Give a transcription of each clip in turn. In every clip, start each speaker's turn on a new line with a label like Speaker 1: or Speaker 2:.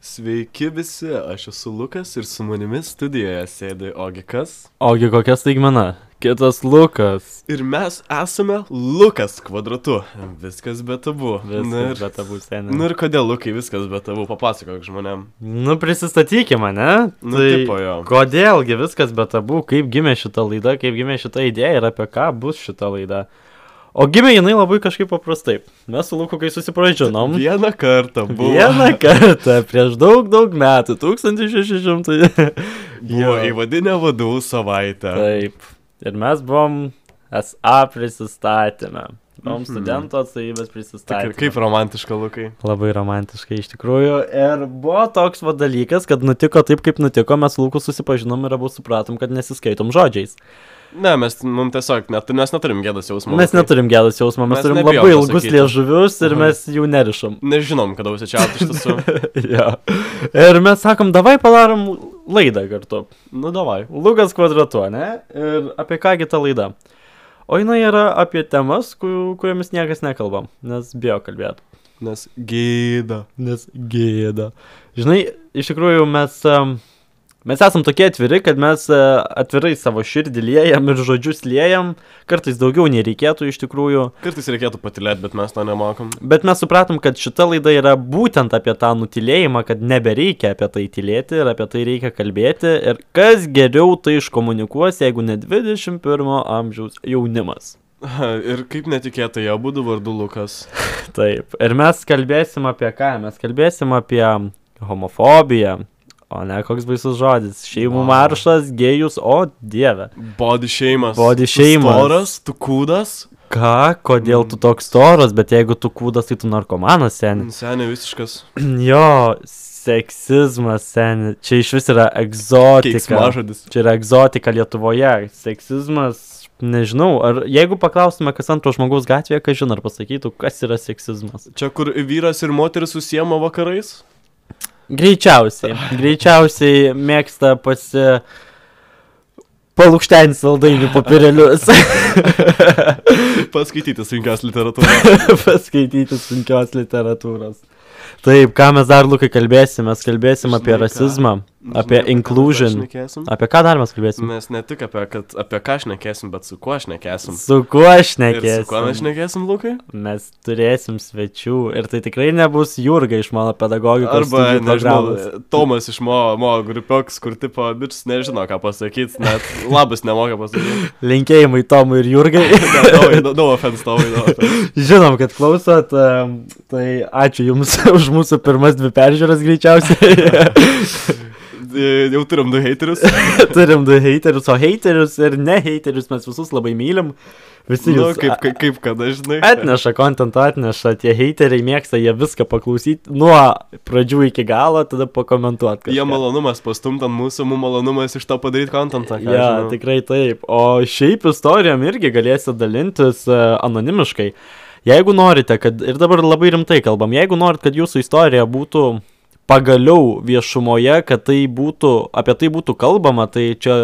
Speaker 1: Sveiki visi, aš esu Lukas ir su manimi studijoje sėdi Ogikas.
Speaker 2: Ogi kokia staigmena? Kitas Lukas.
Speaker 1: Ir mes esame Lukas kvadratu. Viskas be tabu.
Speaker 2: Viskas, ir... bet abu seniai.
Speaker 1: Na Nu ir kodėl, Lukai, viskas be tabu, papasakok žmonėm.
Speaker 2: Nu, prisistatykime, ne?
Speaker 1: Nu, tipo jo.
Speaker 2: kodėlgi viskas be tabu, kaip gimė šita laida, kaip gimė šita idėja ir apie ką bus šita laida. O gimė jinai labai kažkaip paprastai. Mes su Luku, kai susipažinom,
Speaker 1: Vieną kartą buvo.
Speaker 2: vieną kartą prieš daug, daug metų, 1600.
Speaker 1: Buvo
Speaker 2: Jo. Tai-
Speaker 1: įvadinė vadovų savaitė.
Speaker 2: Taip. Ir mes buvom SA prisistatymę. Buvom studento atstovybės
Speaker 1: Mhm. Tik,
Speaker 2: prisistatymę.
Speaker 1: kaip romantiška, Lukai.
Speaker 2: Labai romantiškai iš tikrųjų. Ir buvo toks va dalykas, kad nutiko taip, kaip nutiko, mes su Luku susipažinom ir abu supratom, kad nesiskaitom žodžiais.
Speaker 1: Ne, mes mums tiesiog, net, mes neturim gėdos jausmų.
Speaker 2: Mes
Speaker 1: Lukai.
Speaker 2: neturim gėdos jausmo,
Speaker 1: Nu, tai Mes
Speaker 2: mes, mes turim
Speaker 1: nebijom
Speaker 2: labai ilgus
Speaker 1: pasakyti.
Speaker 2: liežuvius ir
Speaker 1: Mhm.
Speaker 2: mes jų nerišam.
Speaker 1: Nežinom, kada užsičiauti iš tiesų.
Speaker 2: ja. Ir mes sakom, davai padarom laidą kartu.
Speaker 1: nu, davai.
Speaker 2: Lukas kvadratu, ne? Ir apie kągi ta laida. O jinai yra apie temas, ku- kuriomis niekas nekalba, nes bijo kalbėti.
Speaker 1: Nes gėda.
Speaker 2: Nes gėda. Žinai, iš tikrųjų mes, em, mes esam tokie atviri, kad mes e, atvirai savo širdį liejam ir žodžius liejam, kartais daugiau nei reikėtų iš tikrųjų,
Speaker 1: Kartais reikėtų patilėti, bet mes to nemokom.
Speaker 2: bet mes supratom, kad šita laida yra būtent apie tą nutilėjimą, kad nebereikia apie tai tylėti ir apie tai reikia kalbėti ir kas geriau tai iškomunikuos, jeigu ne 21 amžiaus jaunimas.
Speaker 1: Ir kaip netikėtai, jie būdų vardu Lukas.
Speaker 2: Taip. Ir mes kalbėsim apie ką? Mes kalbėsim apie homofobiją. O ne, koks baisus žodis. Šeimų
Speaker 1: Vau.
Speaker 2: wow. maršas, gėjus, o dieve.
Speaker 1: Body šeimas.
Speaker 2: Body shame'as.
Speaker 1: Tu storas, tu kūdas.
Speaker 2: Ką, kodėl tu toks toras, bet jeigu tu kūdas, tai tu narkomanas seniai.
Speaker 1: Seniai visiškas.
Speaker 2: jo, seksizmas seniai. Čia iš vis yra egzotika.
Speaker 1: Keiksmažodis.
Speaker 2: Čia yra egzotika Lietuvoje. Seksizmas, nežinau, ar jeigu paklaustume, kas antro žmogaus gatvėje, kas žino, ar pasakytų, kas yra seksizmas.
Speaker 1: Čia kur vyras ir moteris susiema vakarais?
Speaker 2: Greičiausiai. Greičiausiai mėgsta pasi... Palūkštenį saldainių papirėlius.
Speaker 1: Paskaityti sunkios literatūros.
Speaker 2: Paskaityti sunkios literatūros. Taip, ką mes dar, Lukai, kalbėsim? Mes kalbėsim
Speaker 1: Žinai
Speaker 2: apie
Speaker 1: ką?
Speaker 2: rasizmą,
Speaker 1: Nežinau,
Speaker 2: apie
Speaker 1: ką
Speaker 2: inclusion.
Speaker 1: mes dar šnekėsim.
Speaker 2: Apie ką dar mes kalbėsim?
Speaker 1: Mes ne tik apie, kad, apie ką šnekėsim, bet su kuo šnekėsim.
Speaker 2: Su kuo aš
Speaker 1: Ir su kuo mes
Speaker 2: nekėsiu?
Speaker 1: šnekėsim, Lukai?
Speaker 2: Mes turėsim svečių ir tai tikrai nebus Jurga iš mano
Speaker 1: Arba,
Speaker 2: pedagogikos. studijų programos.
Speaker 1: nežinau, e- Tomas iš mo, mo grupioks, kur tipo, bičias nežino, ką pasakyti, net labas nemoka pasakyti.
Speaker 2: Linkėjimai Tomui ir Jurgai.
Speaker 1: Dau, dau, dau, offense, dau, dau, offense.
Speaker 2: Žinom, kad klausot, em, tai ačiū Jums už mūsų pirmas dvi peržiūras greičiausiai.
Speaker 1: E, Jau turim du Nu, haterius.
Speaker 2: Turim du heiterius, o heiterius ir ne heiterius mes visus labai mylim. Visi
Speaker 1: Nu,
Speaker 2: jūs
Speaker 1: kaip, kaip, kaip kada, žinai.
Speaker 2: a- atneša kontentą, atneša, tie heiteriai mėgsta, jie viską paklausyti nuo pradžių iki galo, tada pakomentuoti.
Speaker 1: Jie malonumas pastumta ant mūsų, mums malonumas iš to padaryti kontentą. ką
Speaker 2: Ja,
Speaker 1: žinau.
Speaker 2: tikrai taip. O šiaip istorijom irgi galėsite dalintis e, anonimiškai. Jeigu norite, kad ir dabar labai rimtai kalbam, jeigu norit, kad jūsų istorija būtų pagaliau viešumoje, kad tai būtų, apie tai būtų kalbama, tai čia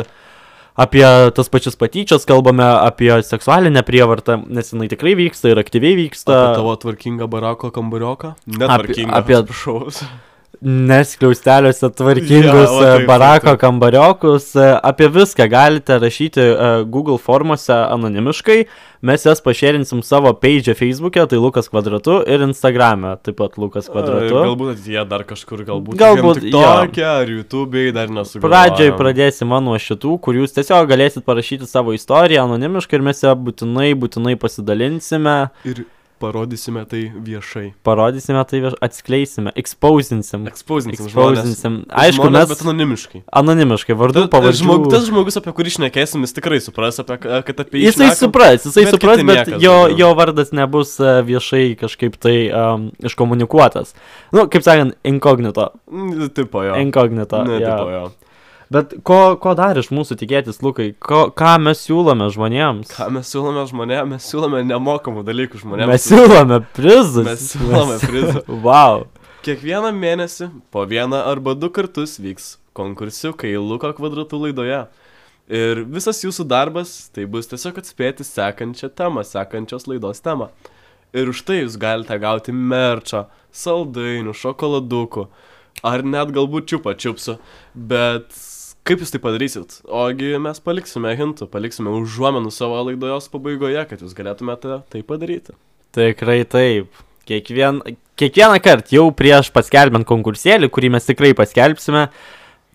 Speaker 2: apie tas pačias patyčias kalbame, apie seksualinę prievartą, nes jinai tikrai vyksta ir aktyviai vyksta.
Speaker 1: Apie tavo tvarkingą barako kambarioką? Netvarkingą.
Speaker 2: apie-
Speaker 1: šaus.
Speaker 2: neskliausteliuose
Speaker 1: Jo,
Speaker 2: tvarkingus
Speaker 1: va taip,
Speaker 2: ja,
Speaker 1: taip,
Speaker 2: barako
Speaker 1: taip.
Speaker 2: kambariokus. e, Apie viską galite rašyti e, Google formose anonimiškai. Mes jas pašėrinsim savo page Facebook'e, tai Lukas kvadratu ir Instagram'e, taip pat
Speaker 1: E,
Speaker 2: Lukas kvadratu.
Speaker 1: Galbūt ateityje dar kažkur, galbūt.
Speaker 2: Galbūt,
Speaker 1: tokia, ar YouTube'ai dar nesu.
Speaker 2: Pradžiai pradėsime nuo šitų, kur jūs tiesiog galėsit parašyti savo istoriją anonimiškai ir mes ją būtinai, būtinai pasidalinsime,
Speaker 1: Ir parodysime tai viešai.
Speaker 2: parodysime tai, vieš- atskleisime, expousinsim.
Speaker 1: Ekspozinsim žmonės.
Speaker 2: Expousinsim. Aišku,
Speaker 1: žmonės,
Speaker 2: mes
Speaker 1: Bet anonimiškai.
Speaker 2: anonimiškai, vardu,
Speaker 1: Ta-
Speaker 2: pavadžiu.
Speaker 1: žmog- Tas žmogus, apie kurį šnekėsim, jis tikrai supras, apie, ką- kad apie jį.
Speaker 2: Jisai
Speaker 1: šnekam.
Speaker 2: supras,
Speaker 1: bet
Speaker 2: jisai bet supras,
Speaker 1: kiti
Speaker 2: bet
Speaker 1: niekas
Speaker 2: jo,
Speaker 1: daugiau.
Speaker 2: jo vardas nebus e, viešai kažkaip tai um, iškomunikuotas. Nu, kaip sakant, inkognito.
Speaker 1: Mm, Tipo jo.
Speaker 2: Inkognito.
Speaker 1: Ne,
Speaker 2: jo.
Speaker 1: tipo jo.
Speaker 2: Bet ko, ko dar iš mūsų tikėtis, Lukai? Ko, ką mes siūlome žmonėms?
Speaker 1: Ką mes siūlome žmonėms, mes siūlome nemokamų dalykų žmonėms.
Speaker 2: Mes siūlome prizus.
Speaker 1: Mes siūlome prizą.
Speaker 2: wow.
Speaker 1: Kiekvieną mėnesį po vieną arba du kartus vyks konkursiukai Luko kvadratų laidoje. Ir visas jūsų darbas tai bus tiesiog atspėti sekančią temą, sekančios laidos temą. Ir už tai jūs galite gauti merčą, saldainių, šokoladukų, ar net galbūt čiupa čiupsu, bet kaip jūs tai padarysit? Ogi mes paliksime hintų, paliksime užuomenų savo laidojos pabaigoje, kad jūs galėtumėte tai padaryti.
Speaker 2: Tikrai taip. Kiekvien, kiekvieną kartą jau prieš paskelbent konkursėlį, kurį mes tikrai paskelbsime,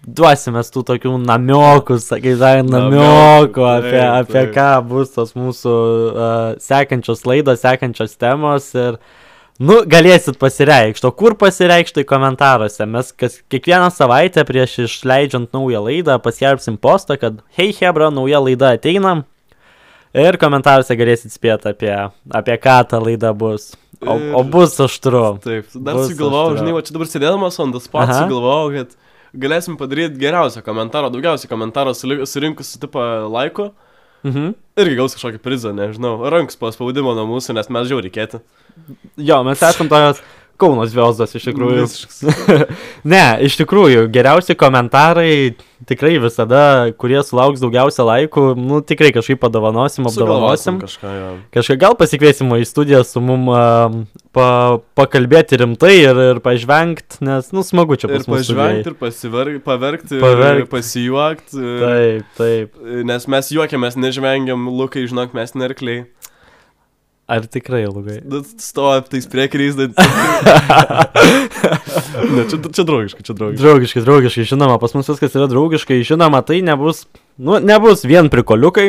Speaker 2: duosime tų tokių namiokų, sakai, žai, namiokų,
Speaker 1: Namiokų,
Speaker 2: apie,
Speaker 1: taip,
Speaker 2: apie
Speaker 1: taip.
Speaker 2: ką bus tos mūsų uh, sekančios laidos, sekančios temos ir, nu, galėsit pasireikšto. Kur pasireikšto į komentaruose? Mes kas, kiekvieną savaitę prieš išleidžiant naują laidą paskelbsim postą, kad, hei, Hebra, nauja laida ateina. Ir komentaruose galėsit spėti apie, apie ką ta laida bus. O, o
Speaker 1: Ir-
Speaker 2: bus aštru.
Speaker 1: Taip, dar
Speaker 2: Bus
Speaker 1: sugalvojau,
Speaker 2: aštru.
Speaker 1: žinai, o čia dabar sėdėdamas on the spot,
Speaker 2: Aha.
Speaker 1: sugalvojau, kad galėsim padaryti geriausią komentarą, daugiausiai komentarų suli- surinkusi tipo laikų.
Speaker 2: Mhm.
Speaker 1: Irgi gaus kažkokį prizą, nežinau, rankas paspaudimo nuo mūsų, nes mes žiauriai reikėtų.
Speaker 2: Jo, mes esam tokios Kaunos vėlzos iš tikrųjų. ne, iš tikrųjų, geriausi komentarai tikrai visada, kurie sulauks daugiausia laikų, nu tikrai kažkaip padovanosim, apdovanosim.
Speaker 1: Kažką, jo.
Speaker 2: Kažką gal pasikviesim į studiją su mum am, pa, pakalbėti rimtai ir, ir pažvengti, nes, nu, smagu čia
Speaker 1: Ir
Speaker 2: pas mus.
Speaker 1: pažvengti, ir pasiver- paverkti, ir
Speaker 2: Paverkt.
Speaker 1: pasijuokti. ir-
Speaker 2: Taip, taip.
Speaker 1: Nes mes juokiamės, nežvengiam, lukai, žinok, mes nerkliai.
Speaker 2: Ar tikrai ilgai?
Speaker 1: Stovi tais priekriais dantis. ne, čia, čia draugiška, čia draugiška.
Speaker 2: Draugiškai, draugiškai, žinoma, pas mus viskas yra draugiškai, žinoma, tai nebus, nu, nebus vien prikoliukai,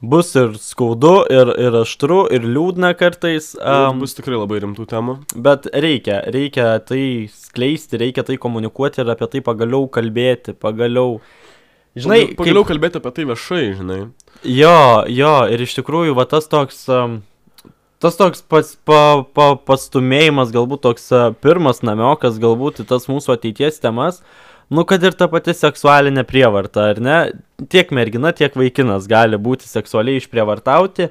Speaker 2: bus ir skaudu, ir, ir aštru, ir liūdna kartais,
Speaker 1: Um,
Speaker 2: um,
Speaker 1: bus tikrai labai rimtų temų.
Speaker 2: bet reikia, reikia tai skleisti, reikia tai komunikuoti ir apie tai pagaliau kalbėti, pagaliau. Žinai,
Speaker 1: Pagal- pagaliau kaip... kalbėti apie tai viešai, žinai.
Speaker 2: kaip, jo, jo, ir iš tikrųjų, va tas toks, um, tas toks pas, pa, pa, pastumėjimas, galbūt toks a, pirmas namiokas, galbūt į tas mūsų ateities temas. Nu, kad ir ta pati seksualinė prievarta, ar ne? Tiek mergina, tiek vaikinas gali būti seksualiai išprievartauti.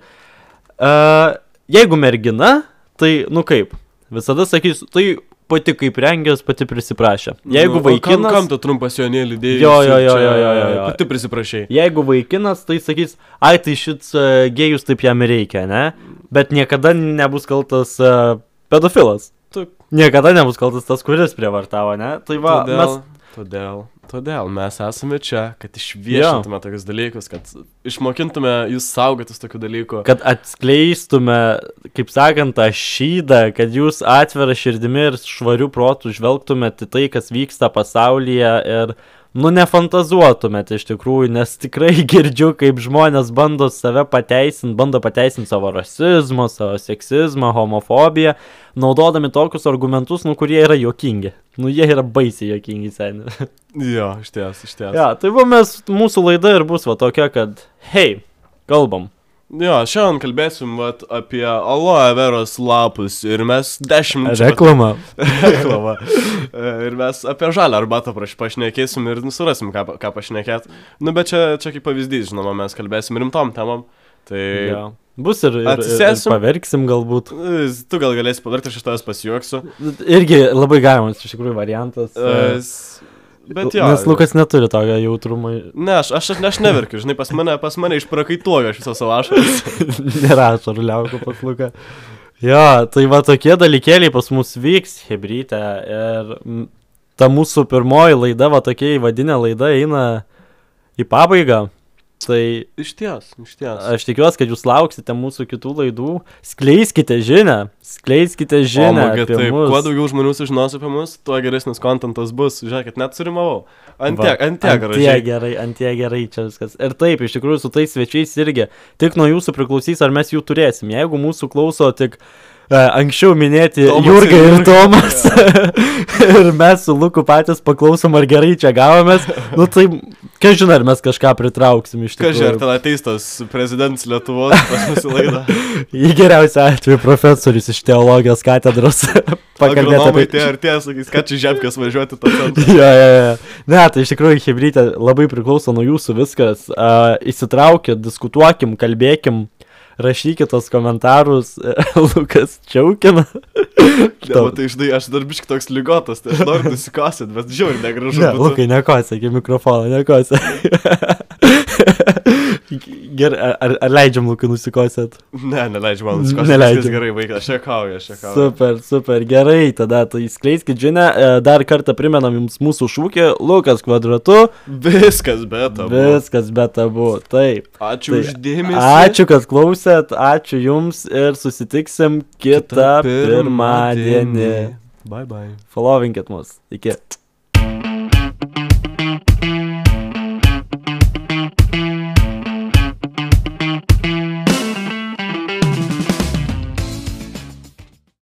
Speaker 2: Uh, jeigu mergina, tai, nu kaip, visada sakysiu, tai pati kaip rengės, pati prisiprašė. Jeigu
Speaker 1: Nu, o Kam,
Speaker 2: vaikinas...
Speaker 1: kam tu trumpas jonėlį dėjai?
Speaker 2: Jo, jo, jo, jo, jo, jo, jo.
Speaker 1: Pati prisiprašai.
Speaker 2: Jeigu vaikinas, tai sakys, ai tai šits e, gėjus taip jam ir reikia, ne? Bet niekada nebus kaltas e, pedofilas.
Speaker 1: Taip.
Speaker 2: Niekada nebus kaltas tas, kuris prievartavo, ne? Tai va,
Speaker 1: todėl,
Speaker 2: mes...
Speaker 1: todėl, todėl mes esame čia, kad išviešintume tokius dalykus, kad išmokintume jūs saugotis tokių dalykų.
Speaker 2: Kad atskleistume, kaip sakant, tą šydą, kad jūs atvira širdimi ir švarių protų žvelgtumėte į tai, kas vyksta pasaulyje ir, nu, nefantazuotumėte iš tikrųjų, nes tikrai girdžiu, kaip žmonės bando save pateisinti, bando pateisinti savo rasizmą, savo seksizmą, homofobiją, naudodami tokius argumentus, nu, kurie yra jokingi. Nu, jie yra baisiai jokingi, seniai.
Speaker 1: Jo, iš ties, iš ties.
Speaker 2: Ja, tai va mes, mūsų laida ir bus va tokia, kad, hei, kalbam.
Speaker 1: Jo, šiandien kalbėsim vat, apie aloe veros lapus ir mes 10
Speaker 2: Reklama.
Speaker 1: reklamą. ir mes apie žalę arbatą praš- pašnekėsim ir nusirasim, ką, pa- ką pašnekėt. Nu, bet čia, čia kaip pavyzdys, žinoma, mes kalbėsim rimtom temam. Tai
Speaker 2: Ja. Bus ir, ir, ir, ir
Speaker 1: Atsisėsim.
Speaker 2: paverksim galbūt.
Speaker 1: e, tu gal galėsi padaryti, aš iš tavęs pasijuoksiu.
Speaker 2: Irgi labai galimas iš tikrųjų variantas.
Speaker 1: E,
Speaker 2: e,
Speaker 1: s- Bet jo.
Speaker 2: Nes Lukas neturi tokio jautrumo.
Speaker 1: Ne, aš, aš, aš neverkiu, žinai, pas mane, pas mane išprakaituoju aš visą savo ašarą.
Speaker 2: Nerašo ruliauko pas Luką. Jo, tai va tokie dalykėliai pas mus vyks, hebrytė. Ir mm, ta mūsų pirmoji laida, va tokia įvadinė laida eina į pabaigą. Tai
Speaker 1: Iš ties, iš ties.
Speaker 2: Aš tikiuosi, kad jūs lauksite mūsų kitų laidų. Skleiskite žinę, skleiskite žinę.
Speaker 1: Žinoma, kad
Speaker 2: apie
Speaker 1: taip,
Speaker 2: mus.
Speaker 1: kuo daugiau žmonių sužinos apie mus, tuo geresnis kontentas bus. Žiūrėkit, net surimavau. Ant
Speaker 2: Va,
Speaker 1: tiek, ant tiek
Speaker 2: Ant tiek
Speaker 1: gražiai.
Speaker 2: gerai, ant tiek gerai čia viskas. Ir taip, iš tikrųjų, su tais svečiais irgi tik nuo jūsų priklausys, ar mes jų turėsim. Jeigu mūsų klauso tik e, anksčiau minėti
Speaker 1: Tomas
Speaker 2: Jurga
Speaker 1: ir
Speaker 2: ir
Speaker 1: Jurga,
Speaker 2: Tomas, ir mes su Luku patys paklausom, ar gerai čia gavomės, nu tai, ką žinai, ar mes kažką pritrauksim iš
Speaker 1: Kaži, ar
Speaker 2: tikrųjų.
Speaker 1: ten ateis tas prezidentas Lietuvos pas mus į laidą?
Speaker 2: Į geriausią atveju profesorius iš teologijos katedros pakalbėti
Speaker 1: Agronomai
Speaker 2: apie
Speaker 1: tie ir tie, sakys, kad čia žemkės važiuoti tą centrą.
Speaker 2: Jo, jo, jo. Ne, tai iš tikrųjų, hybridė labai priklauso nuo jūsų viskas. Uh, įsitraukit, diskutuokim, kalbėkim, rašykit tos komentarus. Lukas Čiaukina.
Speaker 1: Ne, tai žinai, aš dar biškai toks lygotas, tai aš noriu nusikosit, bet žiauriai negražu.
Speaker 2: Ne,
Speaker 1: būtų.
Speaker 2: Lukai, nekosėk į mikrofoną, nekosėk. Gerai, ar- ar, ar leidžiam Lukai nusikosėt?
Speaker 1: Ne, neleidžiu man nusikos.
Speaker 2: Neleidžiu.
Speaker 1: Viskas gerai, vaikas. Aš juokauju, aš juokauju.
Speaker 2: Super, super, gerai, tada tai skleiskit žinę, e, dar kartą primenam jums mūsų šūkį, Lukas kvadratu,
Speaker 1: Viskas beta. buvo.
Speaker 2: viskas be tabu, taip.
Speaker 1: Ačiū
Speaker 2: Tai
Speaker 1: už dėmesį.
Speaker 2: Ačiū, kad klausėt, ačiū jums ir susitiksim kitą
Speaker 1: pirmadienį.
Speaker 2: pirmadienį.
Speaker 1: Bye bye.
Speaker 2: Followinkit mus, iki.